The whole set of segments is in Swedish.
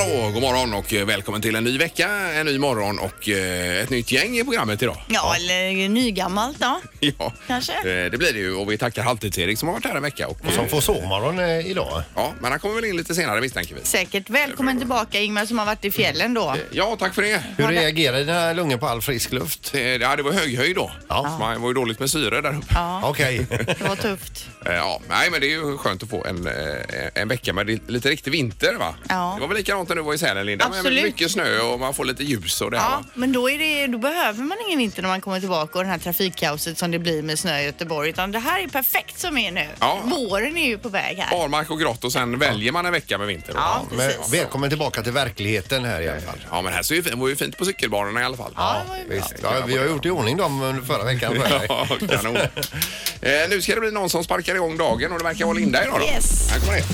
morgon och eh, välkommen till en ny vecka, en ny morgon och eh, ett nytt gäng i programmet idag. Ja, eller nygammalt då. Ja, Kanske. Mm. eh, det blir det ju och vi tackar Halvtids-Erik som har varit här en vecka. Och, Som får sovmorgon eh, idag. Ja, men han kommer väl in lite senare misstänker vi. Säkert. Välkommen tillbaka Ingmar som har varit i fjällen då. Ja, tack för det. Hur reagerar dina lungor på all frisk luft? Eh, Ja, det var höghöjd då. Ja. Man var ju dåligt med syre där uppe. Ja, Okej. det var tufft. Eh, Ja, nej, men det är ju skönt att få en, eh, en vecka med li- lite riktig vinter. va? Ja. Det var väl likadant när du var i Sälen, Linda. Men Absolut. Mycket snö och man får lite ljus och det här, Ja, va? men då, är det, då behöver man ingen vinter när man kommer tillbaka och det här trafikkaoset som det blir med snö i Göteborg. Utan det här är perfekt som är nu. Ja. Våren är ju på väg här. Barmark och grått och sen väljer man en vecka med vinter. Ja, Men precis. välkommen tillbaka till verkligheten här i alla fall. Ja, men här ser ju, fin- var ju fint på cykelbanorna i alla fall. Ja, det var ju bra. Visst. Ja, vi har gjort i ordning dem under förra veckan. för dig. Ja, kanon. Eh, nu ska det bli någon som sparkar igång dagen och det verkar vara Linda idag då. Yes. Här kommer det.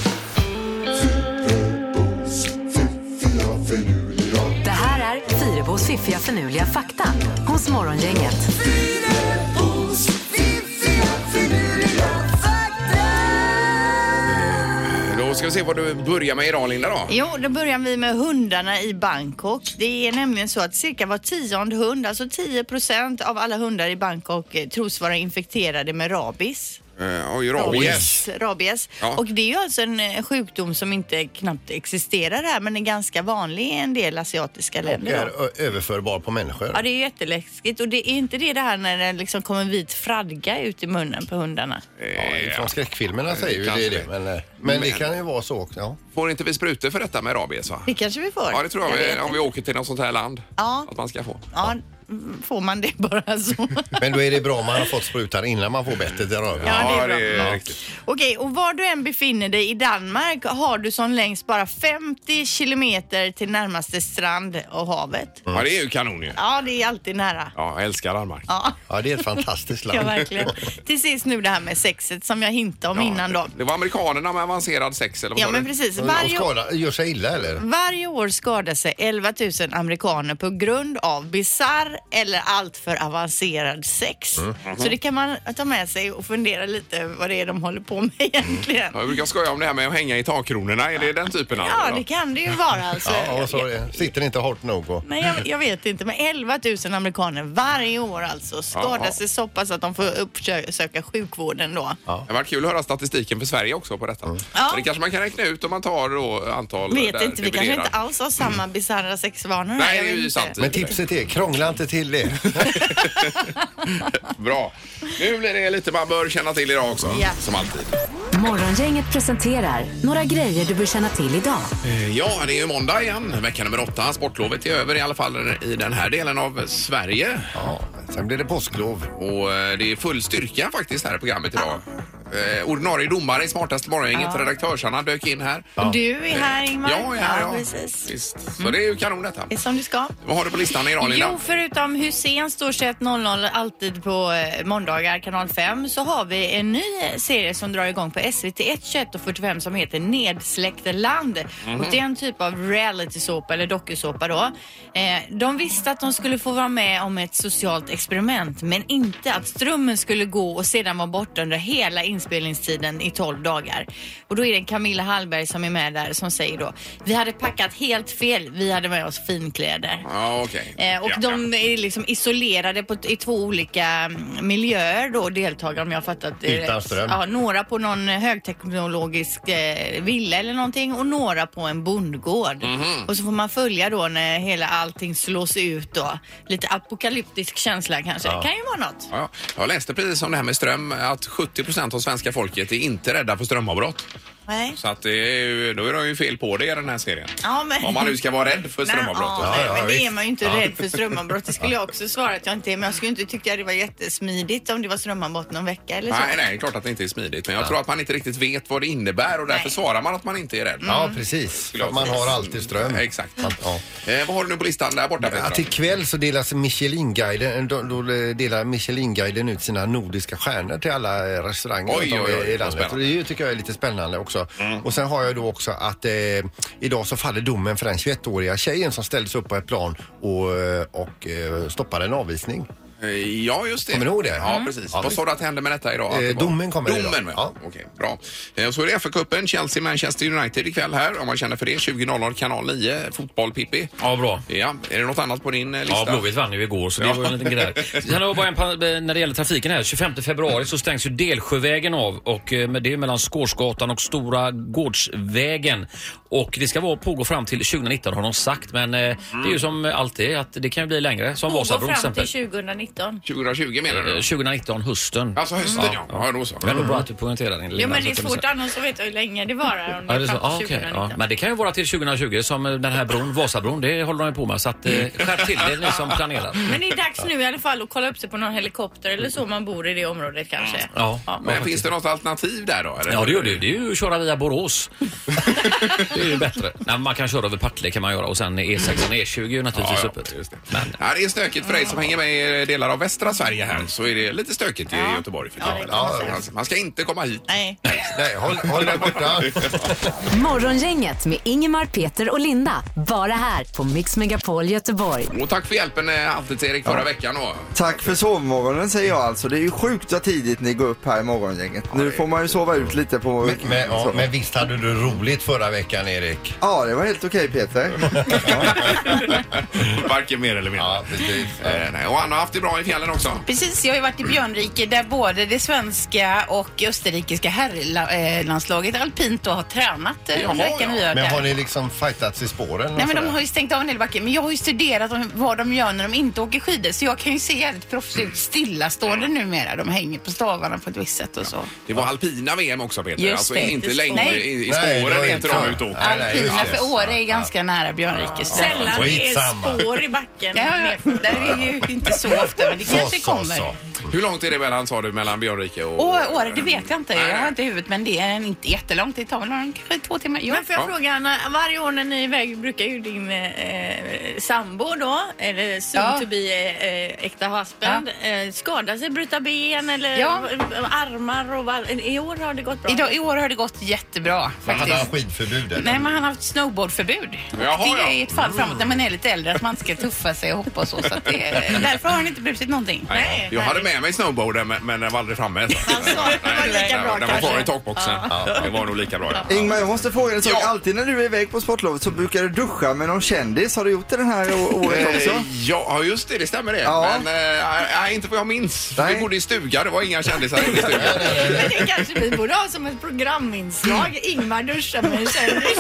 Det här är Fyrabos fiffiga förnuliga fakta hos Morgongänget. Då ska vi se vad du börjar med idag Linda då. Jo, då börjar vi med hundarna i Bangkok. Det är nämligen så att cirka var tionde hund, alltså 10 procent av alla hundar i Bangkok eh, tros vara infekterade med rabies. Eh, Oj, Oh, rabies. rabies. Ja. Och det är ju alltså en eh, sjukdom som inte knappt existerar här men är ganska vanlig i en del asiatiska Det länder. är Då. ö- överförbar på människor. Ja, det är ju jätteläskigt och det är inte det det här när det liksom kommer vit fradga ut i munnen på hundarna. Ja, från skräckfilmerna säger ju kanske det, det. Men, eh, men det kan ju vara så också. Ja. Eh, Får inte vi sprutor för detta med rabies va? Det kanske vi får. Ja, det tror jag, vet vi, om vi åker till något sånt här land. Ja. Att man ska få. Ja, mm, får man det bara så? Men då är det bra om man har fått sprutan innan man får bettet i röven. Ja, det är bra. Ja. riktigt. Okej, och var du än befinner dig i Danmark har du som längst bara 50 kilometer till närmaste strand och havet. Ja, det är ju kanon ju. Ja, det är alltid nära. Ja, jag älskar Danmark. Ja, Ja, det är ett fantastiskt ja land. verkligen. Till sist nu det här med sexet som jag hintade om Ja, innan då. Det var amerikanerna med avancerad sex eller vad Ja, sa men du? precis. Och Varje, Mm, skada, gör sig illa eller? varje år skadar sig 11 000 amerikaner på grund av bizarr eller alltför avancerad sex. Så det kan man ta med sig och fundera lite vad det är de håller på med egentligen. Ja, jag brukar skoja om det här med att hänga i takkronorna. Är det den typen av? Ja, det kan det ju vara alltså. Ja, och så eh, sitter inte hårt nog. Och, Nej, jag, jag vet inte. Men 11 000 amerikaner varje år alltså skadar Jaha. sig så pass att de får uppsöka sjukvården då. Det hade varit kul att höra statistiken för Sverige också på detta. Ja. Men Det kanske man kan räkna ut om man tar då antal vet där inte, vi kanske dividerar. inte alls har samma bisarra sexvanor. här, Mm. Nej, jag det är vet ju inte. sant. men tipset är, krångla inte till det. Bra. Nu blir det lite man bör känna till idag också. Ja. Som alltid. Morgongänget presenterar några grejer du bör känna till idag. Eh, Ja, det är ju måndag igen. Vecka nummer åtta. Sportlovet är över i alla fall i den här delen av Sverige. Ja, sen blir det påsklov. Och eh, det är full styrka faktiskt här i programmet idag. Eh, ordinarie domare i smartaste morgongänget, Ja. redaktörsarna dök in här. Eh, Och du är här Ingmar. Ja, ja, ja. precis. Visst. Så det är ju kanon detta. Det är som du ska. Vad har du på listan idag Linda? Jo, förutom Hussein står 21.00 alltid på eh, måndagar, kanal 5, så har vi en ny serie som drar igång på SVT 1, 21.45 som heter Nedsläkterland. Och det är en typ av realitysåpa eller dokusåpa då. Eh, de visste att de skulle få vara med om ett socialt experiment men inte att strömmen skulle gå och sedan vara borta under hela inspelningstiden i 12 dagar. Och då är det Camilla Hallberg som är med där som säger då Vi hade packat helt fel. Vi hade med oss finkläder. Ja, okej. Eh, och Ja, de är liksom isolerade på, i två olika mm, miljöer då, deltagare om jag har fattat det Utan rätt. ström. Ja, några på någon eh, högteknologisk eh, villa eller någonting och några på en bondgård. Mhm. Och så får man följa då när hela allting slås ut då. Lite apokalyptisk känsla kanske. Det kan ju vara något. ja. Ja, ja. Jag läste precis om det här med ström, att 70 av svenska folket är inte rädda för strömavbrott. Nej. Så att det är, ju- då är de ju fel på det i den här serien. Ja, men- Om man nu ska vara rädd för strömavbrott. Nej, ja, Ja, ja, men det är visst. man ju inte rädd för strömavbrott. Det skulle jag också svara att jag inte är. Men jag skulle inte tycka att det var jättesmidigt om det var strömavbrott någon vecka eller så. Nej, nej, det är klart att det inte är smidigt. Men jag tror att man inte riktigt vet vad det innebär och därför Nej. svarar man att man inte är rädd. Mm, Ja, precis. För att man har Mm. alltid ström. Exakt. Man- Ja. Eh, vad har du nu på listan där borta Peter? Att ikväll så delas Michelinguiden, då, då delar Michelinguiden ut sina nordiska stjärnor till alla eh, restauranger Oj, runt om oj, oj, i- i vad landet. spännande. Mm. Och det är ju- tycker jag är lite spännande också. Och sen har jag då också att eh, idag så faller domen för den 21-åriga tjejen som ställdes upp på ett plan och, eh, och eh, stoppade en avvisning. Eh, Ja, just det. Kommer du ihåg det? Ja, Mm. precis. Ja, Vad sa du att hände med detta idag? Att det Eh, var- domen kommer idag. Domen, ja. Ja. Okej, bra. Eh, Så är det FA-cupen, Chelsea-Manchester United ikväll här om man känner för det. 20.00 kanal 9, fotboll Pippi. Ja, bra. Ja, är det något annat på din eh, lista? Ja, Blåvitt vann ju igår så det Ja. var ju en liten grej där. Sen har jag bara en, pa- när det gäller trafiken här. 25 februari så stängs ju Delsjövägen av och eh, med det är mellan Skårsgatan och Stora Gårdsvägen. Och det ska vara pågå fram till 2019 har de sagt men eh, det är ju som alltid att det kan ju bli längre. Som Pågår Vasabron till fram exempel. till 2019. 20 2020 menar Eh, du? 2019, hösten. Alltså hösten, ja. Ja, då så. Men då bra att du poängterar din Jo, Lina, men det är så att svårt annars så vet jag hur länge det varar om det Ja, är det är så, fram ah, till okej, 2019. ja. Men det kan ju vara till 2020 som eh, den här bron, Vasabron, det håller de ju på med. Så att, eh, skärp till dig ni som planerar. Men det är dags nu i alla fall att kolla upp sig på någon helikopter eller så om man bor i det området kanske. Ja. Men finns det något alternativ där då? Eller? Ja, det gör det ju. Det är ju att köra via Borås. det är ju bättre. Nej, men man kan köra över Partille kan man göra och sen E E6 och E20 är ju Ja, naturligtvis ja, öppet. just det. Men Ja, det är stökigt för dig som hänger med i eh, delar av västra Sverige här så är det lite stökigt i Göteborg för Ja, det tillfället. kan man Ja, man- man ska inte komma hit. Nej. Nej, håll, håll dig borta. Morgongänget med Ingemar, Peter och Linda. Bara här på Mix Megapol Göteborg. Och tack för hjälpen eh, alltid till Erik förra veckan då. Tack för sovmorgonen säger jag alltså. Det är ju sjukt vad tidigt ni går upp här i morgongänget. Nu får man ju sova ut lite på... Men, men, ja, så. men visst hade du roligt förra veckan, Erik? Ja, det var helt okej Peter. Varken mer eller mindre. Ja, precis. Eh, nej, och han har haft det bra i fjällen också. Precis, jag har ju varit i Björnrike där både det svenska och österrikiska herrlandslaget alpint då har tränat eh, Jaha, under veckan vi ja. gör Men där. har ni liksom fightats i spåren? och Nej men de sådär? har ju stängt av en hel backe. Men jag har ju studerat om vad de gör när de inte åker skidor så jag kan ju se jävligt proffsigt ut stillastående numera. De hänger på stavarna på ett visst sätt och så. Det var alpina VM också Peter. Just alltså det. inte Just- längre nej. i, i Nej, spåren det var är inte inte de så. ute och åker. Nej, nej, Alpina just det. för Åre är ganska nära Björnrike. Så. Sällan det Skitsamma. är spår i backen. Ja, ja, ja. där är det ju inte så ofta men det kanske så, kommer. så. Hur långt är det mellan sa du mellan Björnrike och... Åh, Åre, det vet jag inte. Jag har inte i huvudet, men det är inte jättelångt. Det tar väl någon- kanske två timmar. Jo. Men får jag Ja. fråga Anna, varje år när ni är iväg brukar ju din eh, sambo då, eller soon Ja. to be eh, äkta husband, eh, skada sig, bryta ben eller Ja. eh, armar och vad- I år har det gått bra. Idag, I år har det gått jättebra Hade han faktiskt. skidförbud? eller? Nej, men han har haft snowboardförbud. Och Jaha, det ja. är ett fall framåt när man är lite äldre, att man inte ska tuffa sig och hoppa och så. så att det är, därför har han inte brutit någonting. Nej, jag hade med mig snowboarden men, men den var aldrig framme. Så. Alltså, det var lika bra den var kvar i kanske. takboxen. Det var nog lika bra. Ja. Ingmar, jag måste fråga dig en sak. Ja. Alltid när du är iväg på sportlovet så brukar du duscha med någon kändis. Har du gjort det den här å- året också? Eh, Ja, just det. Det stämmer det. Ja. Men eh, nej, inte vad jag minns. Nej. Vi bodde i stuga. Det var inga kändisar inne i stugan. Men det kanske vi borde ha som ett Mm. programinslag. Ingmar duschar med en kändis.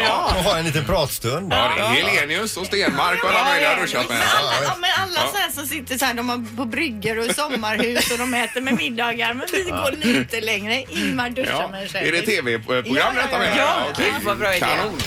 Ja. Och ha en liten pratstund. Ja, det är Helenius och Stenmark och alla möjliga har duschat med. Alla, ja, men alla så här som sitter så här, de har på bryggor och i sommarhus och de äter med middagar. Men vi går nu inte längre. Ingmar duschar Ja. med en kändis. Är det tv-program Ja, detta ja, ja. menar Ja, okej. vad bra idé. Kanon.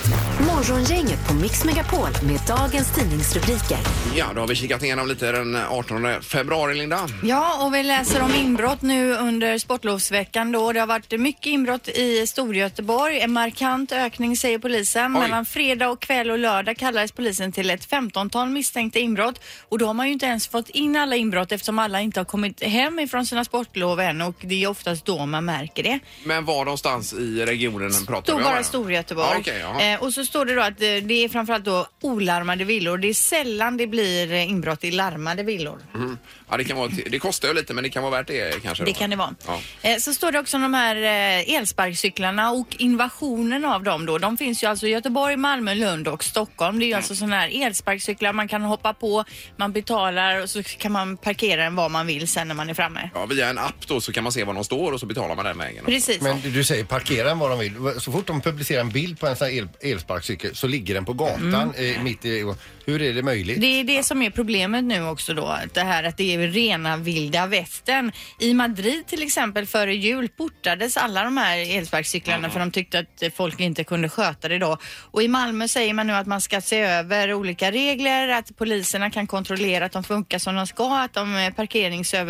Morgongänget på Mix Megapol med dagens tidningsrubriker. Ja, då har vi kikat igenom lite den 18 februari, Linda. Ja, och vi läser om inbrott nu under sportlovsveckan då. Det har varit mycket inbrott i Storgöteborg. En markant ökning säger polisen. Oj. Mellan fredag och kväll och lördag kallades polisen till ett 15-tal misstänkta inbrott. Och då har man ju inte ens fått in alla inbrott eftersom alla inte har kommit hem ifrån sina sportlov än och det är oftast då man märker det. Men var någonstans i regionen pratar Stod vi om? bara här? Storgöteborg. Ja, okej, ja. eh, och så står det då att eh, det är framförallt då olarmade villor. Det är sällan det blir eh, inbrott i larmade villor. Mm. ja, det, kan vara, det kostar ju lite men det kan vara värt det kanske. Det då. kan det vara. Ja. Eh, Så står det också om de här eh, elsparkcyklarna och invasionen av dem då. De finns ju alltså i Göteborg, Malmö, Lund och Stockholm. Det Mm. är ju alltså sådana här elsparkcyklar man kan hoppa på, man betalar och så kan man parkera den var man vill sen när man är framme. Ja, via en app då så kan man se var de står och så betalar man den vägen. Precis. Men du säger parkera den var de vill. Så fort de publicerar en bild på en sån här el- elsparkcykel så ligger den på gatan Mm. eh, mitt i... Hur är det möjligt? Det är det som är problemet nu också då, att det här att det är rena vilda västern. I Madrid till exempel före jul portades alla de här elsparkcyklarna för de tyckte att eh, folk inte kunde sköta det då. Och i Malmö säger man nu att man ska se över olika regler, att poliserna kan kontrollera att de funkar som de ska, att de eh,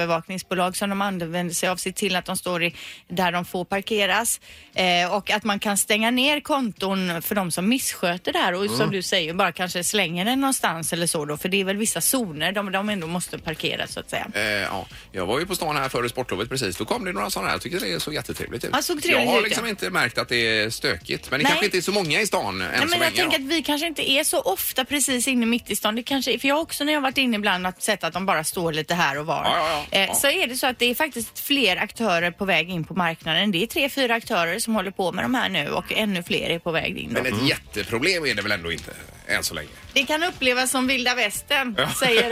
parkeringsövervakningsbolag som de använder sig av ser till att de står i, där de får parkeras eh, och att man kan stänga ner konton för de som missköter det här och som du säger bara kanske slänger den någonstans eller så då. För det är väl vissa zoner de, de ändå måste parkera så att säga. Eh, ja. Jag var ju på stan här före sportlovet precis. Då kom det några sådana här. Jag tycker det såg jättetrevligt ut. Ja, såg trevligt jag har ut, liksom ja. inte märkt att det är stökigt. Men det Nej. kanske inte är så många i stan än Nej, så men jag länge. tänker då. att vi kanske inte är så ofta precis inne mitt i stan. Det kanske, för jag har också när jag har varit inne ibland att sett att de bara står lite här och var. Ja, ja, ja. Eh, Ja. Så är det så att det är faktiskt fler aktörer på väg in på marknaden. Det är tre, fyra aktörer som håller på med de här nu och ännu fler är på väg in. Då. Men ett jätteproblem är det väl ändå inte än så länge? Det kan upplevas som vilda västern, säger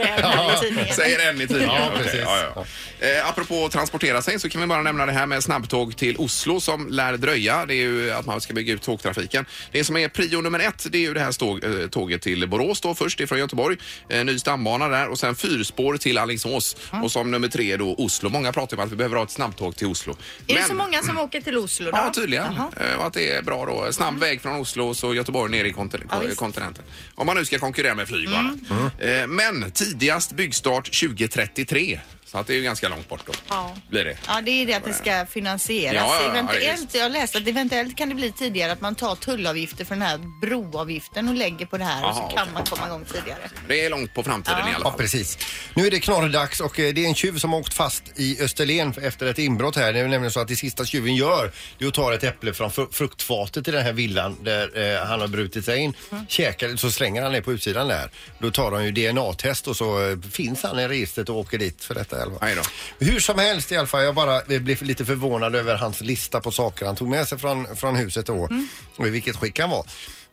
en här i tidningen. Säger en i tidningen. Ja, Okej, precis. ja, ja. Eh, apropå att transportera sig så kan vi bara nämna det här med snabbtåg till Oslo som lär dröja. Det är ju att man ska bygga ut tågtrafiken. Det som är prio nummer ett det är ju det här ståg, eh, tåget till Borås då först ifrån Göteborg. Eh, ny stambana där och sen fyrspår till Alingsås. Och som nummer tre då Oslo. Många pratar om att vi behöver ha ett snabbtåg till Oslo. Är det Men- så många som åker till Oslo då? Ja, Mm. tydligen. Jaha. Eh, Och att det är bra då. Snabb väg från Oslo och så Göteborg ner i kontin- Ja, ko- visst. kontinenten. Om man nu ska konkurrera med flyg och annat. Eh, Men tidigast byggstart 2033. Så att det är ju ganska långt bort då. Ja. Blir det. Ja, det är det att det ska finansieras. Ja, ja, ja, ja, eventuellt, visst. jag läste att eventuellt kan det bli tidigare att man tar tullavgifter för den här broavgiften och lägger på det här och så Aha, kan okej. man komma igång tidigare. Det är långt på framtiden i alla Ja, fall. precis. Nu är det knorrdags och eh, det är en tjuv som har åkt fast i Österlen efter ett inbrott här. Det är nämligen så att det sista tjuven gör det är att ta ett äpple från fru- fruktfatet i den här villan där eh, han har brutit sig in. Mm. Käkar, så slänger han det på utsidan där. Då tar de ju DNA-test och så eh, finns han i registret och åker dit för detta. Eller? vad? Aj då. Hur som helst i alla fall, jag bara eh, blev lite förvånad över hans lista på saker han tog med sig från, från huset då. Mm. Och i vilket skick han var.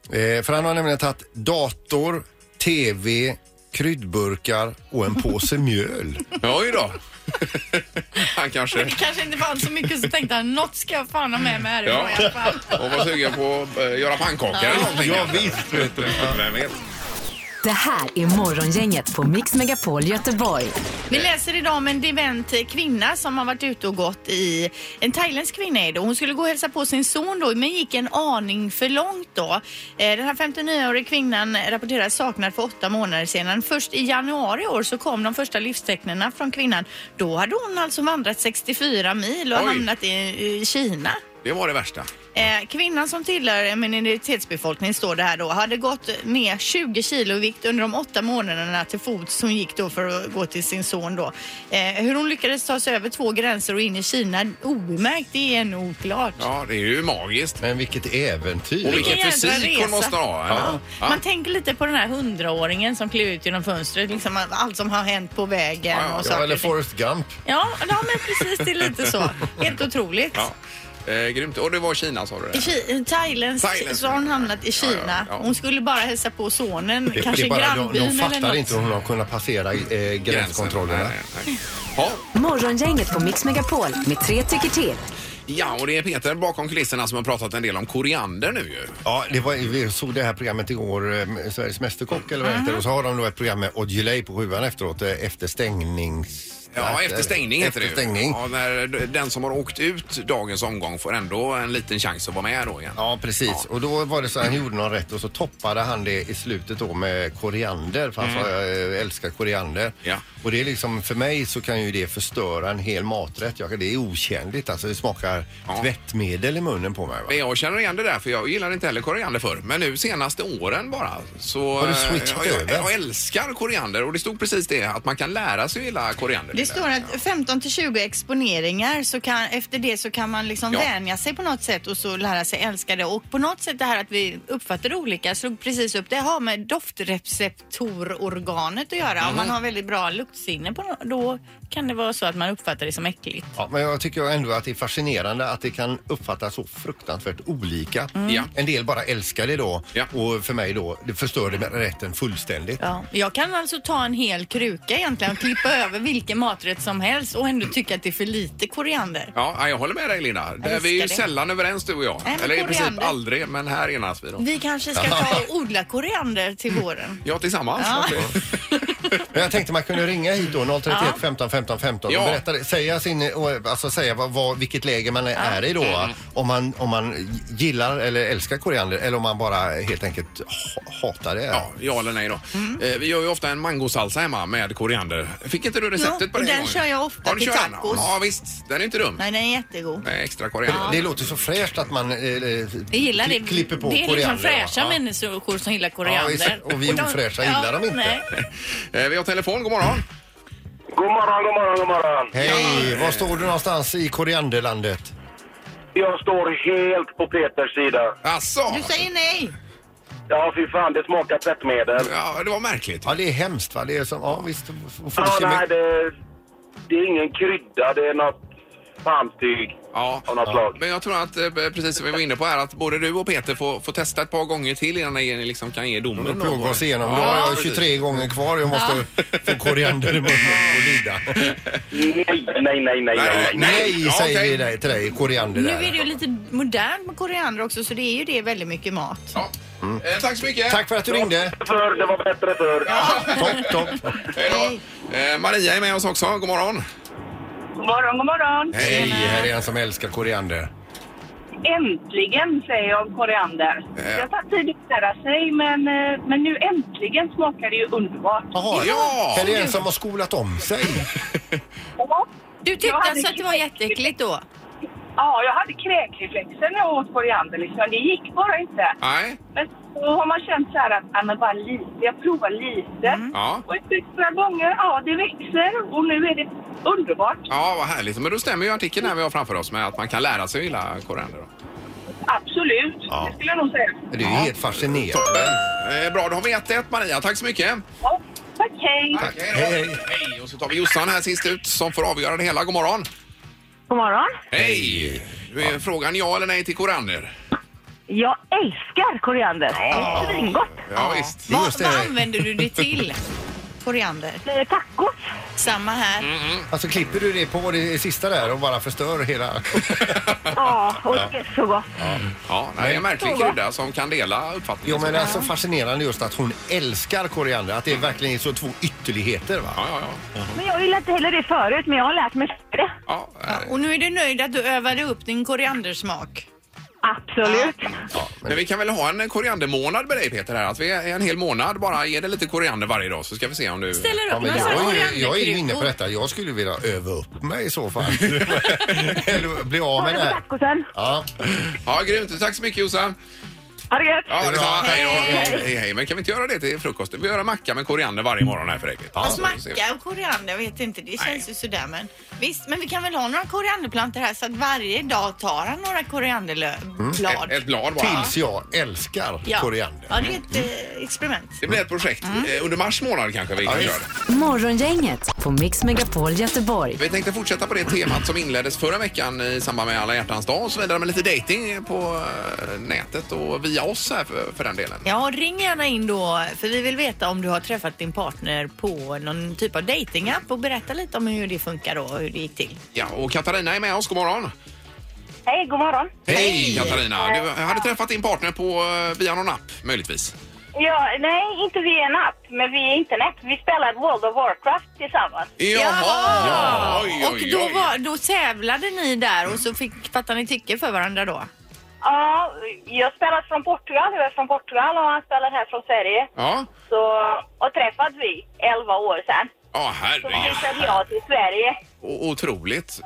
Eh, för han har nämligen tagit dator, tv, kryddburkar och en påse mjöl. Oj då. Han kanske... Det kanske inte fanns så mycket så tänkte han något ska jag fan ha med mig härifrån Ja. i alla fall. Och var sugen på att eh, göra pannkakor eller någonting. Ja, visst. Vet du. Vem vet? Det här är Morgongänget på Mix Megapol Göteborg. Vi läser idag om en dement kvinna som har varit ute och gått i... En thailändsk kvinna är det. Hon skulle gå och hälsa på sin son då, men gick en aning för långt då. Eh, Den här 59-åriga kvinnan rapporterades saknad för åtta månader sedan. Först i januari i år så kom de första livstecknena från kvinnan. Då hade hon alltså vandrat 64 mil och Oj. hamnat i, i Kina. Det var det värsta. Eh, Kvinnan som tillhör en minoritetsbefolkning står det här då, hade gått ner 20 kilo i vikt under de åtta månaderna till fots som gick då för att gå till sin son då. Eh, Hur hon lyckades ta sig över två gränser och in i Kina obemärkt, det är ännu oklart. Ja, det är ju magiskt. Men vilket Och äventyr. vilken jädra fysik hon resa. måste ha. Ja. Man tänker lite på den här hundraåringen som klev ut genom fönstret, liksom allt som har hänt på vägen Ja, ja, och Ja, saker. eller Forrest Gump. Ja, ja, men precis, det är lite så. Helt otroligt. Ja. Eh, grymt. Och det var Kina sa du? I det? Ki- Thailändsk Thailändsk. så har hon hamnat i Kina. Ja, ja, ja. Hon skulle bara hälsa på sonen, Det, kanske det är bara, de, de grannbyn eller fattar något. inte hur de har kunnat passera eh, gränskontrollerna. Nej, nej, nej. Ja, Morgongänget på Mix Megapol med tre tycker till. ja, och det är Peter bakom kulisserna som har pratat en del om koriander nu ju. Ja, det var, vi såg det här programmet igår, eh, Sveriges Mästerkock eller vad det Mhm. heter. Och så har de då ett program med Audiolay på sjuan efteråt, eh, efter stängnings... Ja, efter stängning heter efter det ju. stängning. Ja, när den som har åkt ut dagens omgång får ändå en liten chans att vara med då igen. Ja, precis. Och då var det så att han gjorde någon rätt och så toppade han det i slutet då med koriander. För han sa, jag älskar koriander. Mm. Ja. Och det är liksom, för mig så kan ju det förstöra en hel maträtt. Jag, det är otjänligt alltså. Det smakar Ja. tvättmedel i munnen på mig. Va? Men jag känner igen det där för jag gillade inte heller koriander förr. Men nu senaste åren bara så... eh, Har du switchat jag, jag, över? jag älskar koriander och det stod precis det att man kan lära sig att gilla koriander. Det står att 15 till 20 exponeringar så kan, efter det så kan man liksom Ja. vänja sig på något sätt och så lära sig älska det. Och på något sätt det här att vi uppfattar det olika slog precis upp. Det har med doftreceptororganet att göra. Mhm. Om man har väldigt bra luktsinne på nå- då kan det vara så att man uppfattar det som äckligt. Ja, men jag tycker ändå att det är fascinerande att det kan uppfattas så fruktansvärt olika. Mm. Ja. En del bara älskar det då Ja. och för mig då, det förstörde med rätten fullständigt. Ja. Jag kan alltså ta en hel kruka egentligen och klippa över vilken maträtt som helst och ändå tycka att det är för lite koriander. Ja, jag håller med dig Linda. Det, vi är ju det. sällan överens du och jag. Nej, men Eller i princip koriander. aldrig, men här enas vi då. Mm. Vi kanske ska ta och odla koriander till våren. Ja, tillsammans. Ja. Men jag tänkte man kunde ringa hit då, 031 15 15 15 och Ja. berätta, det. säga, sin, och, alltså, säga vad, vad, vilket läge man är i då. va? Mm. Om man, om man gillar eller älskar koriander eller om man bara helt enkelt ha- hatar det. Ja, ja eller nej då. Eh, vi gör ju ofta en mangosalsa hemma med koriander. Fick inte du receptet Jo, på det? den en gång? kör jag ofta Ja, du till kör den? tacos. Ja, visst. Den är inte dum. Nej, den är jättegod. Med extra koriander. Det låter så fräscht att man eh, Jag gillar det. kli- klipper på det är liksom koriander, va? fräscha Ja. människor som gillar Ja, koriander. visst. Och vi de- ofräscha gillar dem inte. Nej. Eh, vi har telefon, god morgon. God morgon, god morgon, god morgon. Hej, var står du någonstans i korianderlandet? Jag står helt på Peters sida. Asså? Du säger nej. Ja, fy fan, det smakar tvättmedel. Ja, det var märkligt. Ja, det är hemskt va? Det är som, ja visst. f- får Ja, du kemi- nej, det, det är ingen krydda, det är något pantyg Ja. av något slag. Men jag tror att, eh, precis som vi var inne på här, att både du och Peter får, får testa ett par gånger till innan ni liksom kan ge domen. och plåga oss igenom. Ja, Då har jag precis. 23 gånger kvar. Jag måste få koriander i munnen och lida. Nej, nej, nej, nej. nej. Nej, Ja, säger okej. vi dig, till dig, koriander Nu där. är det ju lite modernt med koriander också så det är ju det väldigt mycket mat. Ja. Eh, tack så mycket. Tack för att du ringde. Förr, det var bättre förr. Topp, topp. Hej då. Eh, Maria är med oss också. God morgon. God morgon, god morgon. Hej, här är en som älskar koriander. Äntligen säger jag om koriander. Ja. Det har tagit tid att lära sig, men, eh, men nu äntligen smakar det ju underbart. Jaha, Ja. här är en som har skolat om sig. Ja, Du tyckte Jag hade alltså att det var jätteäckligt då? Ja, jag hade kräkreflexer när jag åt koriander. Liksom. Det gick bara inte. Nej. Men så har man känt så här att ja, men bara lite, jag provar lite. Ja. Och efter några gånger, ja, det växer och nu är det underbart. Ja, vad härligt. Men då stämmer ju artikeln här vi har framför oss med att man kan lära sig att gilla koriander. Då. Absolut, Ja. det skulle jag nog säga. Det är ju helt fascinerande. Toppen. Eh, bra, då har vi 1-1 Maria. Tack så mycket. Ja, tack, hej. Tack. Hej, Hej, då. hej. hej. Och så tar vi Jossan här sist ut som får avgöra det hela. God morgon. God morgon. Hej. Nu är frågan ja eller nej till koriander. Jag älskar koriander. Ja. Ja, visst. Det är Vad, just det. vad använder du det till? Koriander. Tacos. Samma här. Alltså klipper du det på det sista där och bara förstör hela... Ja, och det är så gott. Ja, det är en märklig krydda som kan dela Jo uppfattningen. men alltså fascinerande just att hon älskar koriander. Att det verkligen är så två ytterligheter va. Ja, ja, ja. Men jag gillade inte heller det förut, men jag har lärt mig det. ja. Ja, eh, och nu är du nöjd att du övade upp din koriandersmak. Absolut. Men vi kan väl ha en koriandermånad med dig Peter här. Att vi är en hel månad bara ger dig lite koriander varje dag så ska vi se om du... Ställer Ja, upp men några sådana jag, är ju, jag är ju inne på korianderkryddor. detta. Jag skulle vilja öva upp mig i så fall. Eller bli av med det eh, här. tacosen. Ja. Ja, grymt. Tack så mycket Jossan. Ha det gött. Ja, det bra. Hej, hej, hej, hej. Men kan vi inte göra det till frukosten? Vi gör en macka med koriander varje morgon här för dig. Peter. Fast Så ser vi. macka och koriander, jag vet inte, det känns ju sådär men visst, men vi kan väl ha några korianderplantor här så att varje dag tar han några Mm. korianderblad. Ett, ett blad bara. Tills jag älskar ja. koriander. Mm. Ja, det är ett eh, experiment. Det blir ett projekt eh, under mars månad kanske vi kan visst. göra det. Morgongänget på Mix Megapol Göteborg. Vi tänkte fortsätta på det temat som inleddes förra veckan i samband med alla hjärtans dag och så vidare med lite dating på eh, nätet och via oss här för, för den delen. Ja, ring gärna in då för vi vill veta om du har träffat din partner på någon typ av datingapp och berätta lite om hur det funkar då och hur det gick till. Ja, och Katarina är med oss. God morgon! Hej, god morgon. Hej Katarina! Du hade träffat din partner på, eh, via någon app möjligtvis? Ja, nej, inte via en app, men via internet. Vi spelar World of Warcraft tillsammans. Jaha! Ja. Oj, och då, var, då tävlade ni där och så fick, fattade ni tycke för varandra då? Ja, jag spelar från Portugal. Jag är från Portugal och han spelar här från Sverige. Ja, Så, och träffades vi 11 år sedan. ja Så herregud. flyttade jag till Sverige. O- Otroligt.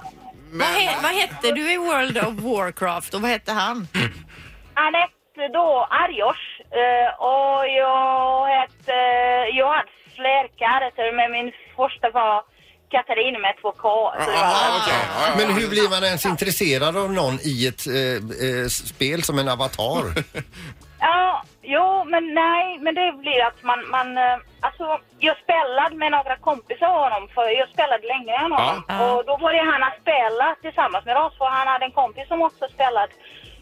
Men, Vad, he, vad hette du i World of Warcraft och vad hette han? Han hette då Arjos eh, och jag hette... Jag hade fler karaktärer men min första var Katarina med två K. Så det var- Jaha, okej. Ja, ja, ja. Men hur blir man ens intresserad av någon i ett eh, eh, spel som en avatar? Ja, jo, men nej, men det blir att man... man eh, alltså, jag spelade med några kompisar av honom, för jag spelade längre än honom. Och då började han att spela tillsammans med oss, för han hade en kompis som också spelade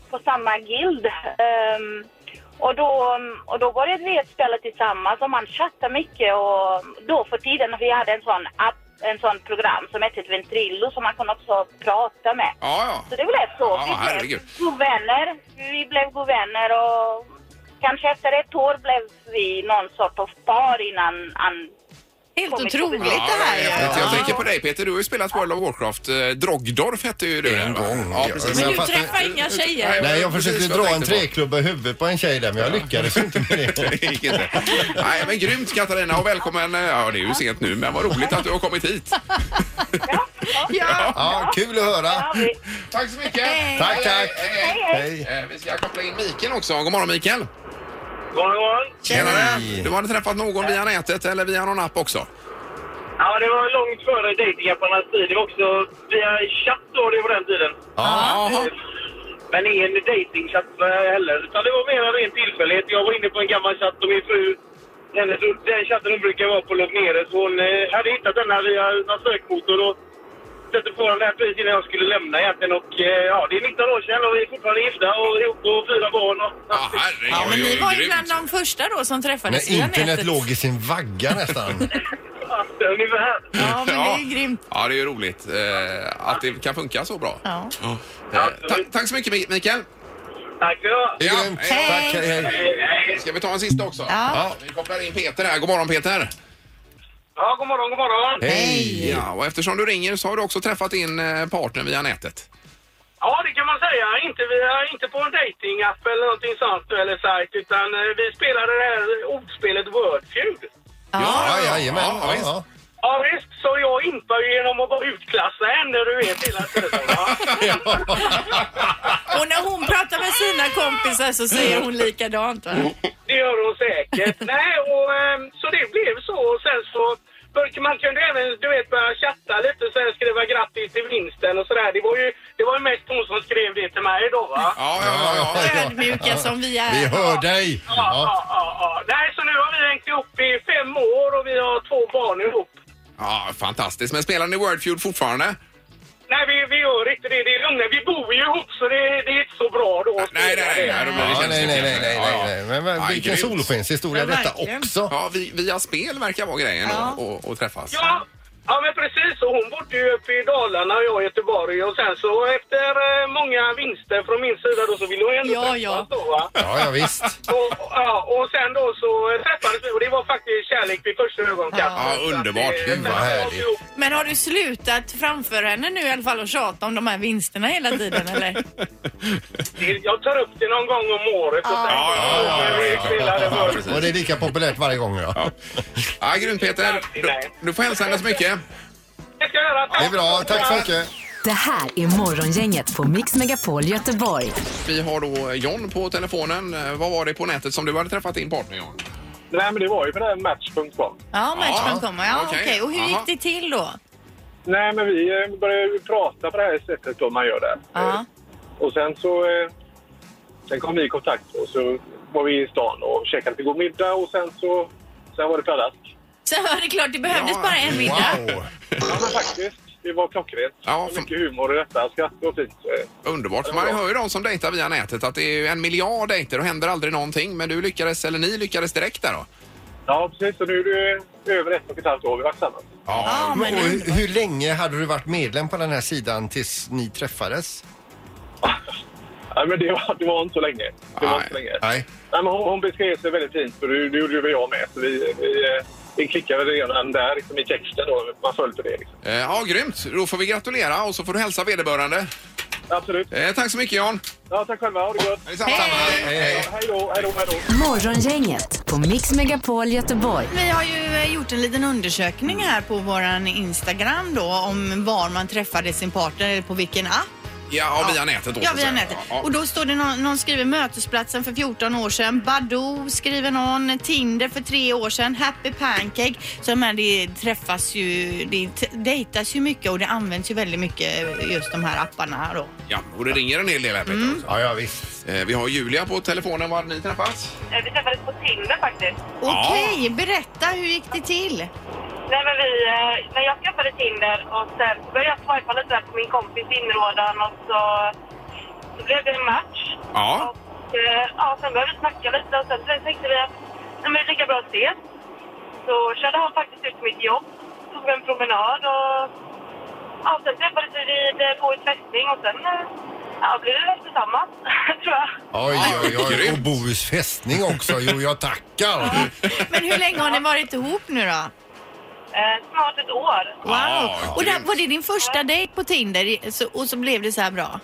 på samma guild. Ehm, och, då, mm, och då började vi att spela tillsammans och man chattade mycket och då för tiden vi hade en sån app, en sån program som hette Ventrilo som man kunde också prata med. Ja, Så ja. det blev så. Ja, vi herregud. blev godvänner. Vi blev godvänner och kanske efter ett år blev vi någon sort av par innan han Helt kommit på otroligt besök. det här Jag ju. jag tänker på dig Peter, du har ju spelat World of Warcraft. Eh, Drogdorf hette ju du. En va? gång, Ja, ja. precis. Men Men du fast- träffar inga tjejer. Nej, jag Precis försökte vad jag dra en tänkte på. treklubba i huvudet på en tjej där, men jag lyckades inte med det. Det gick inte. Nej, men grymt Katarina och välkommen. eh, Ja, det är ju sent nu, men vad roligt att du har kommit hit. Ja, ja. Ja, kul att höra. Ja, vi- Tack så mycket. Tack, tack. Hej, Hej. hej. Eh, Vi ska koppla in Mikael också. God morgon Mikael. God morgon. Tjenare. Du hade träffat någon via nätet eller via någon app också? Ja, det var långt före dejtingapparnas tid. Det var också via chatt då, det var den tiden. Jaha. Men ingen dejtingchatt eh, heller, utan det var mer en ren tillfällighet. Jag var inne på en gammal chatt och min fru, hennes, den chatten hon brukar vara på låg nere, så hon eh, hade hittat denna via någon sökmotor och sätter på den där precis innan jag skulle lämna egentligen. Och eh, ja, det är 19 år sedan och vi är fortfarande gifta och ihop och fyra barn. Och, Ja, herregud. Ja, men ni var ju grymt. bland de första då som Men träffades via internet nätet. låg i sin vagga nästan. ja, ungefär. Ja, men det är ju grymt. Ja, det är ju roligt eh, att det kan funka så bra. Ja. Eh, ta- tack så mycket Mi- Mikael. Tack ska du ha. Det Ja, är grymt. hej då. Tack, hej, hej. Ska vi ta en sista också? Ja. Vi kopplar in Peter här. God morgon Peter. Ja, god morgon, god morgon. Hej. Ja, och eftersom du ringer så har du också träffat din eh, partner via nätet. Ja, det kan man säga. Inte, via, inte på en datingapp eller någonting sånt eller sajt, utan eh, vi spelade det här ordspelet Wordfeud. Ja, jajamän. Ja, Ja, visst. ja. Ja, visst, så jag impar ju genom att bara utklassa henne, du vet, hela tiden. Va? Och när hon pratar med sina kompisar så säger hon likadant. Va? Det gör hon säkert. Nej, och ehm, så det blev så. Och sen så började man kunde även, du vet, börja chatta lite och sen skriva grattis till vinsten och sådär. Det var ju, det var ju mest hon som skrev det till mig då, va? Ja, Ja, ja, ja. Ödmjuka som vi Vi är. hör dig. Ja, ja, Ja. ja, ja. Nej, så nu har vi hängt ihop i fem år och vi har två barn ihop. ja fantastiskt. Men spelar ni Wordfeud fortfarande? Nej, vi, vi gör inte det. Det är lugnt. Vi bor ju ihop, så det, det är inte så bra då. att Nej, nej, spela nej. nej, då det. blir det Ja, känsligt. nej, nej, nej, nej, Ja, ja. nej. Men, men Ja, vilken grymt. solskenshistoria Ja, detta verkligen. också. Ja, vi, via spel verkar vara grejen Ja. och, och, och träffas. Ja, ja, men precis. Och hon bodde ju uppe i Dalarna och jag i Göteborg. Och sen så efter eh, många vinster från min sida då så ville hon ju ändå Ja, träffas ja. då va. Ja, ja visst. Och, ja, och sen då så eh, träffades vi och det var faktiskt kärlek vid första ögonkastet. Ja, underbart. Så att, eh, Gud, vad sen härligt. var vi ihop. Men har du slutat framför henne nu i alla fall och tjata om de här vinsterna hela tiden eller? Det- Jag tar upp det någon gång om året och sen Ja, ja, ja, ja, vi ja. spelar det för. Precis. Och det är lika populärt varje gång. Ja. Ja, grymt Peter. Du, du får hälsa henne så mycket. Det ska jag göra. Tack. Det är bra. Tack så mycket. Det här är Morgongänget på Mix Megapol Göteborg. Vi har då John på telefonen. Eh, Vad var det på nätet som du hade träffat din partner John? Nej, men det var ju på den här match.com. Ja, matchen kommer. Ja, okej. okej. Och hur Aha. Eh. gick det till då? Nej, men vi eh, började ju prata på det här sättet då man gör det. Eh, Ja. Och sen så... eh, Sen kom vi i kontakt och så var vi i stan och käkade lite god middag och sen så... Sen var det pladask. Så var det klart, det behövdes Ja, bara en middag. Wow. Ja, men faktiskt. Det var klockrent. Ja, Ja, för- Mycket humor i detta. Skratt och fint. Eh, Underbart. För man hör ju de som dejtar via nätet att det är ju en miljard dejter och händer aldrig någonting. Men du lyckades, eller ni lyckades direkt där då? Ja, precis. Så nu är det över ett och ett halvt år vi har varit tillsammans. Ja, Men, men och det- hur, hur länge hade du varit medlem på den här sidan tills ni träffades? Nej, men det var, det var inte så länge. Det var Nej, inte så länge. nej. Nej, men hon, hon beskrev sig väldigt fint, för det, det gjorde ju jag med. Så vi, vi, eh, vi klickade redan där liksom, i texten. Då. Man följde det. Liksom. Eh, Ja, grymt. Då får vi gratulera och så får du hälsa vederbörande. Absolut. Eh, Tack så mycket John. Ja, tack själva. Ha det gott. Detsamma. Hej, hej. Ja, Hej då, hej då, hej då. Morgongänget på Mix Megapol Göteborg. Vi har ju eh, gjort en liten undersökning här på våran Instagram då om var man träffade sin partner eller på vilken app. Ja, och via nätet då. Ja, så att via säga. nätet. Ja, Och då står det någon, någon skriver mötesplatsen för 14 år sedan. Badoo skriver någon. Tinder för tre år sedan. Happy Pancake. Så de här, det träffas ju, det t- dejtas ju mycket och det används ju väldigt mycket eh, just de här apparna här då. ja, och det ringer en hel del här Peter. Mm. också. Ja, ja visst. Eh, Vi har Julia på telefonen. Var hade ni träffats? Eh, Vi träffades på Tinder faktiskt. Ja. Okej, berätta hur gick det till? Nej, men vi, eh, när jag skaffade Tinder och sen började jag swipa lite där på min kompis inrådan och så, så blev det en match. Ja. Och, eh, ja, sen började vi snacka lite och sen, sen tänkte vi att nej, men det är lika bra att ses. Så körde han faktiskt ut till mitt jobb, tog en promenad och ja, sen träffades vi vid eh, på ett fästning och sen eh, ja, blev vi väl tillsammans, tror jag. Oj, oj, oj. Grymt. Och Bohus fästning också. Jo, jag tackar. Men hur länge har ni varit ihop nu då? Eh, snart ett år. Ja, Och där, grymt. var det din första dejt på Tinder i- så, och så blev det så här bra?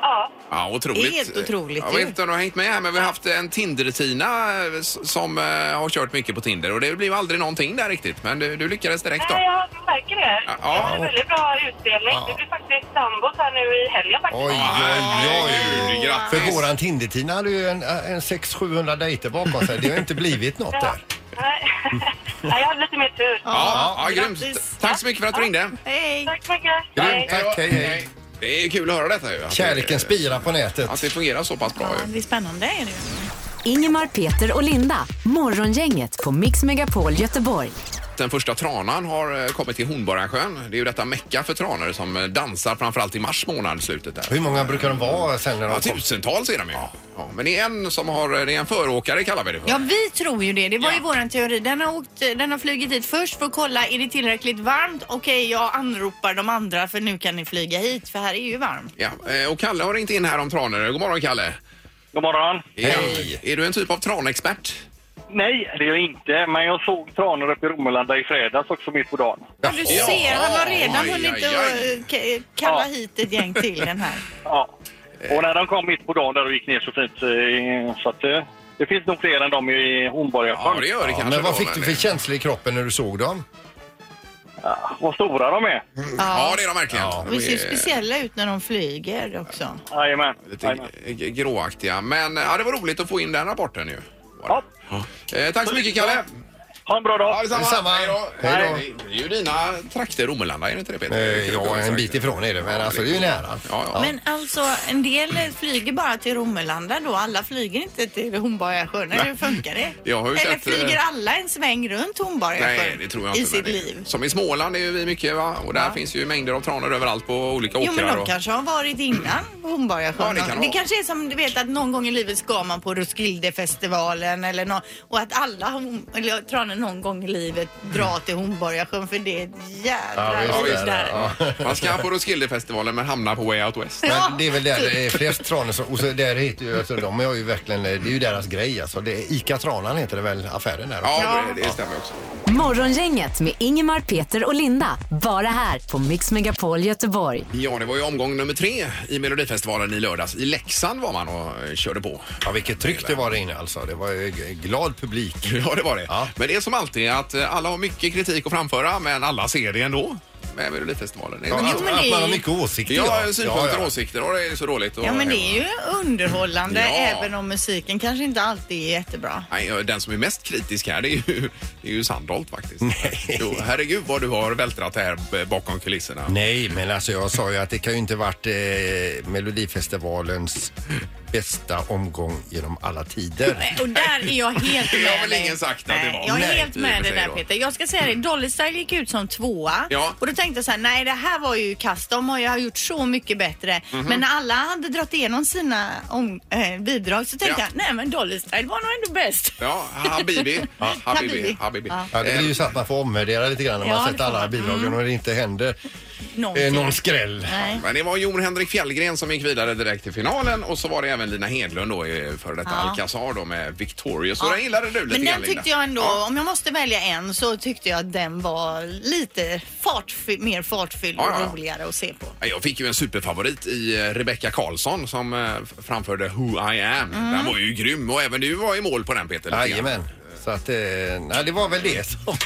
Ja. Ja, otroligt. Helt otroligt Jag ju. vet inte om du har hängt med här, men vi har haft en Tinder-Tina eh, s- som eh, har kört mycket på Tinder och det blev aldrig någonting där riktigt. Men du, du lyckades direkt då. Nej, jag märker det. Ja. Det var en väldigt bra utdelning. Vi blir faktiskt sambos här nu i helgen faktiskt. Oj, oj, oj. Herregud, grattis. För våran Tinder-Tina hade ju en, en 600-700 dejter bakom sig. Det har inte blivit något där. Nej. Mm. Nej, jag hade lite mer tur. Ja, ja, grattis. grymt. Tack så mycket för att du ringde. Hej! Tack så mycket. Grymt, tack. Hej, hej. Det är kul att höra detta ju. att det- Kärleken spirar på nätet. Att det fungerar så pass bra Ja, ju. det är spännande är det ju. Ingemar, Peter och Linda. Morgongänget på Mix Megapol Göteborg. Den första tranan har eh, kommit till Hornborgasjön. Det är ju detta mecka för tranor som eh, dansar framförallt i mars månad, slutet där. Hur många brukar de vara sen när de Ja, typ, kommer? tusentals är de ju. Ja, men det är en som har, eh, det är en föråkare kallar vi det för. Ja, vi tror ju det. Det var Ja. ju våran teori. Den har, åkt, den har flugit hit först för att kolla, är det tillräckligt varmt? Okej, jag anropar de andra för nu kan ni flyga hit för här är ju varmt. Ja, eh, och Kalle har ringt in här om tranor. God morgon Kalle! God morgon. Hej! Är du en typ av tranexpert? Nej, det är jag inte. Men jag såg tranor uppe i Romelanda i fredags också mitt på dagen. Ja, du Ja. ser, han har redan Aj, hunnit aj, aj. att, eh, k- kalla Ja. hit ett gäng till den här. Ja. Och när de kom mitt på dagen där och gick ner så fint eh, så att eh, det finns nog fler än dem i Ja, Hornborgasjön. det gör det Ja, kanske. men vad då, fick du för känsla i kroppen när du såg dem? Eh, Ja, vad stora de är. Ja, det är de verkligen. De De ser ju är speciella ut när de flyger också. Jajamän. Lite Jajamän. g- g- gråaktiga. Men eh, ja, det var roligt att få in den rapporten ju. Ja. Eh, tack så mycket Kalle! Ha en bra dag! Detsamma. Hej då. Hej då. Nej, Det är ju dina trakter, Romelanda, är det inte det Peter? Eh, Ja, en bit ifrån är det, men alltså det är ju nära. Ja, ja. Men alltså, en del eh, flyger bara till Romelanda då. Alla flyger inte till Hornborgasjön. Eller hur funkar det? Jag har ju Eller sett, eh, flyger alla en sväng runt Nej, Hornborgasjön det tror jag i inte. sitt men det- liv? Som i Småland är ju vi mycket va? Och där finns ju mängder av tranor överallt på olika åkrar. Jo, men de och... kanske har varit innan på Hornborgasjön. Ja, det kan det vara. kanske är som du vet att någon gång i livet ska man på Roskildefestivalen eller nå och att alla har- eller tranor någon gång i livet drar till Hornborgasjön för det är ett jädra Ja, liv visst är det. där. Ja. Man ska på Roskildefestivalen men hamnar på Way Out West. Ja, typ. Men det är väl där det är flest tranor som, och så där heter ju, alltså, de har ju verkligen, det är ju deras grej alltså. Det är Ica Tranan heter det väl, affären där? Ja, Det, det stämmer också. Morgongänget med Ingemar, Peter och Linda. Bara här på Mix Megapol Göteborg. Ja, det var ju omgång nummer tre i Melodifestivalen i lördags. I Leksand var man och eh, körde på. Ja, vilket tryck det var där inne alltså. Det var ju g- glad publik. Ja, det var det. Ja. Men det är som alltid att eh, alla har mycket kritik att framföra, men alla ser det ändå med Melodifestivalen. Ja, men att, det att man är- har mycket åsikter. ja, synpunkter och Ja, åsikter och det är så roligt. Och, Ja, men det är ju underhållande Ja. även om musiken kanske inte alltid är jättebra. Nej, den som är mest kritisk här det är ju, det är ju Sandholt faktiskt. Nej. Jo, herregud vad du har vältrat det här b- bakom kulisserna. Nej, men alltså jag sa ju att det kan ju inte varit eh, Melodifestivalens bästa omgång genom alla tider. Eh, Och där är jag helt med Det har väl dig. ingen sagt att det Nej, var. Jag är Nej, helt med det dig där då. Peter. Jag ska säga det, Dolly Style gick ut som tvåa Ja. och då tänkte jag så här, nej det här var ju kast. De har ju gjort så mycket bättre. Mhm. Men när alla hade dragit igenom sina om, eh, bidrag så tänkte Ja. jag, nej men Dolly Style var nog ändå bäst. Ja, Habibi. Habibi. Habibi. Habibi. Ja. Ja, det blir ju så att man får omvärdera lite grann när man Ja, har det sett får alla man. Mm. bidragen och det inte händer eh, Någonting. någon skräll. Nej. Eh, Men det var Jon Henrik Fjällgren som gick vidare direkt till finalen och så var det även Lina Hedlund då, eh, före detta Ja. Alcazar då med Victorious. Och den gillade du lite grann, Men den Linda. tyckte jag ändå, Ja. om jag måste välja en så tyckte jag att den var lite fartfy- mer fartfylld Ja, ja, ja. och roligare att se på. Ja, Jag fick ju en superfavorit i eh, Rebecca Karlsson som eh, f- framförde Who I Am. Mm. Den var ju grym och även du var i mål på den Peter. lite grann. Jajamän. Så att, eh, nej, det var väl det som,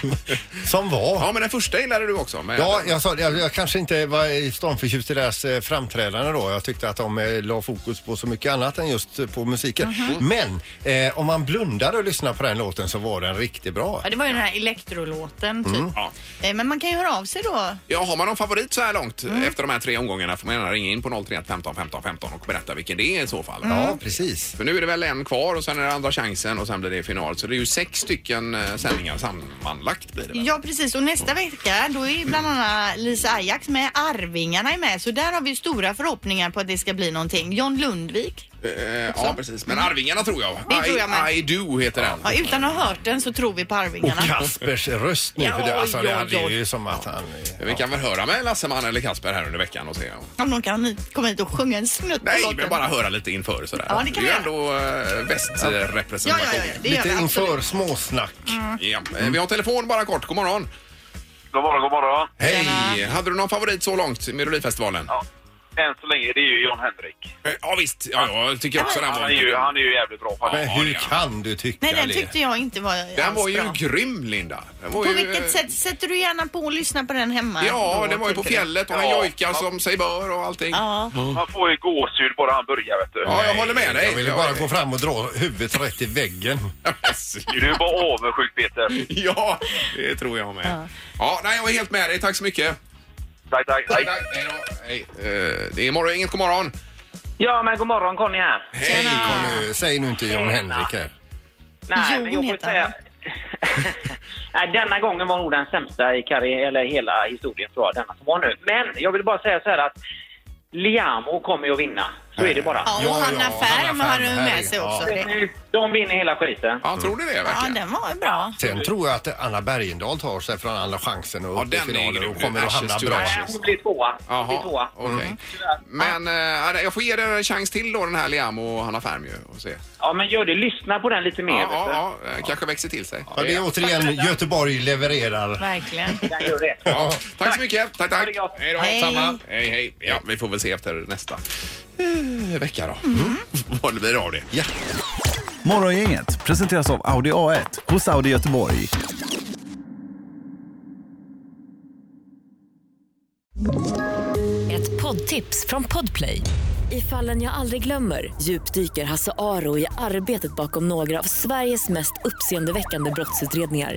som var. Ja, men den första gillade du också. Med Ja, jag sa det. Jag, jag kanske inte var stormförtjust i deras eh, framträdande då. Jag tyckte att de eh, la fokus på så mycket annat än just eh, på musiken. Mhm. Men eh, om man blundade och lyssnade på den låten så var den riktigt bra. Ja, det var ju den här elektrolåten typ. Mm. Ja. Eh, Men man kan ju höra av sig då. Ja, har man någon favorit så här långt eh, Mm. efter de här tre omgångarna får man gärna ringa in på 031 15 15 15 och berätta vilken det är i så fall. Ja, precis. För nu är det väl en kvar och sen är det andra chansen och sen blir det final. Så det är ju sex stycken eh, sändningar sammanlagt blir det väl? Ja precis och nästa vecka då är ju bland annat Lisa Ajax med, Arvingarna är med så där har vi ju stora förhoppningar på att det ska bli någonting. John Lundvik. Eh, ja, precis. Men Arvingarna tror jag. Det tror jag med. I, I do heter den. Ja, utan att ha hört den så tror vi på Arvingarna. Och Oh, Kaspers röst nu. För det, alltså, Ja, det, ja, det är ja. ju som att han... eh, Vi kan väl höra med Lasseman eller Kasper här under veckan och se. om- Om någon kan hit- komma hit och sjunga en snutt på Nej, låten. men bara höra lite inför sådär. Ja, det kan är ju vi ändå äh, Ja, ja, västrepresentation. ja, ja, det Mm. gör Lite vi absolut. inför småsnack. ja. Eh, Vi har telefon bara kort. God morgon. God morgon, god morgon. Hej! Hade du någon favorit så långt i Melodifestivalen? Ja. Än så länge, det är ju John Henrik. Eh, Ja, visst. Ja, jag tycker också den Han är var... ju, han är ju jävligt bra Men faktiskt. hur det är- kan du tycka Nej, den det? tyckte jag inte var Den alls var ju bra. grym, Linda. Den var På ju, eh, vilket sätt? Sätter du gärna på och lyssnar på den hemma? Ja, då, den var ju på tycker du? fjället och han Ja. jojkar som sig bör och allting. Ja. Man får ju gåshud bara han börjar vet du. Ja, jag håller med dig. Jag ville bara gå fram och dra huvudet rätt i väggen. Du är bara avundsjuk Peter. Ja, det tror jag med. Ja, nej, jag är helt med dig. Tack så mycket. Tack, tack. Tack, tack. Hej då. Hej. Eh, Det är morgon, inget god morgon. Ja, men god morgon Conny här. Hej. Kom nu, säg nu inte John Henrik här. Jo, Nej, men jag hon får heter säga... Anna. Nej, denna gången var nog den sämsta i karriär, eller hela historien tror jag, denna som var nu. Men jag vill bara säga så här att Liamo kommer ju att vinna. Så är det bara. Ja, och Ja, Hanna ja, Färm Hanna har Färm du här med är- sig ja. också. Det- De vinner hela skiten. Ja, tror ni det Ja, verkligen? den var ju bra. Sen tror jag att Anna Bergendahl tar sig från andra chansen och Ja, upp till den är finalen grym. och kommer att hamna Ashes to bra. ashes. Hon blir tvåa. Hon blir tvåa. Jaha, okej. Mm. Men eh, jag får ge er en chans till då, den här Liam och Hanna Färm ju, och se. Ja, men gör det. Lyssna på den lite Ja, mer. vet du. ja, ja, eh, kanske växer till sig. Ja, det är återigen Göteborg levererar. Verkligen. Den gör det. Ja, tack så mycket. Tack, Ha tack. det gott. Hej då. Hej. Samma. Hej, hej. Ja, vi får väl se efter nästa eh, vecka då. Vad det blir av det. Ja. Morgongänget presenteras av Audi A1 hos Audi Göteborg. Ett poddtips från Podplay. I fallen jag aldrig glömmer djupdyker Hasse Aro i arbetet bakom några av Sveriges mest uppseendeväckande brottsutredningar.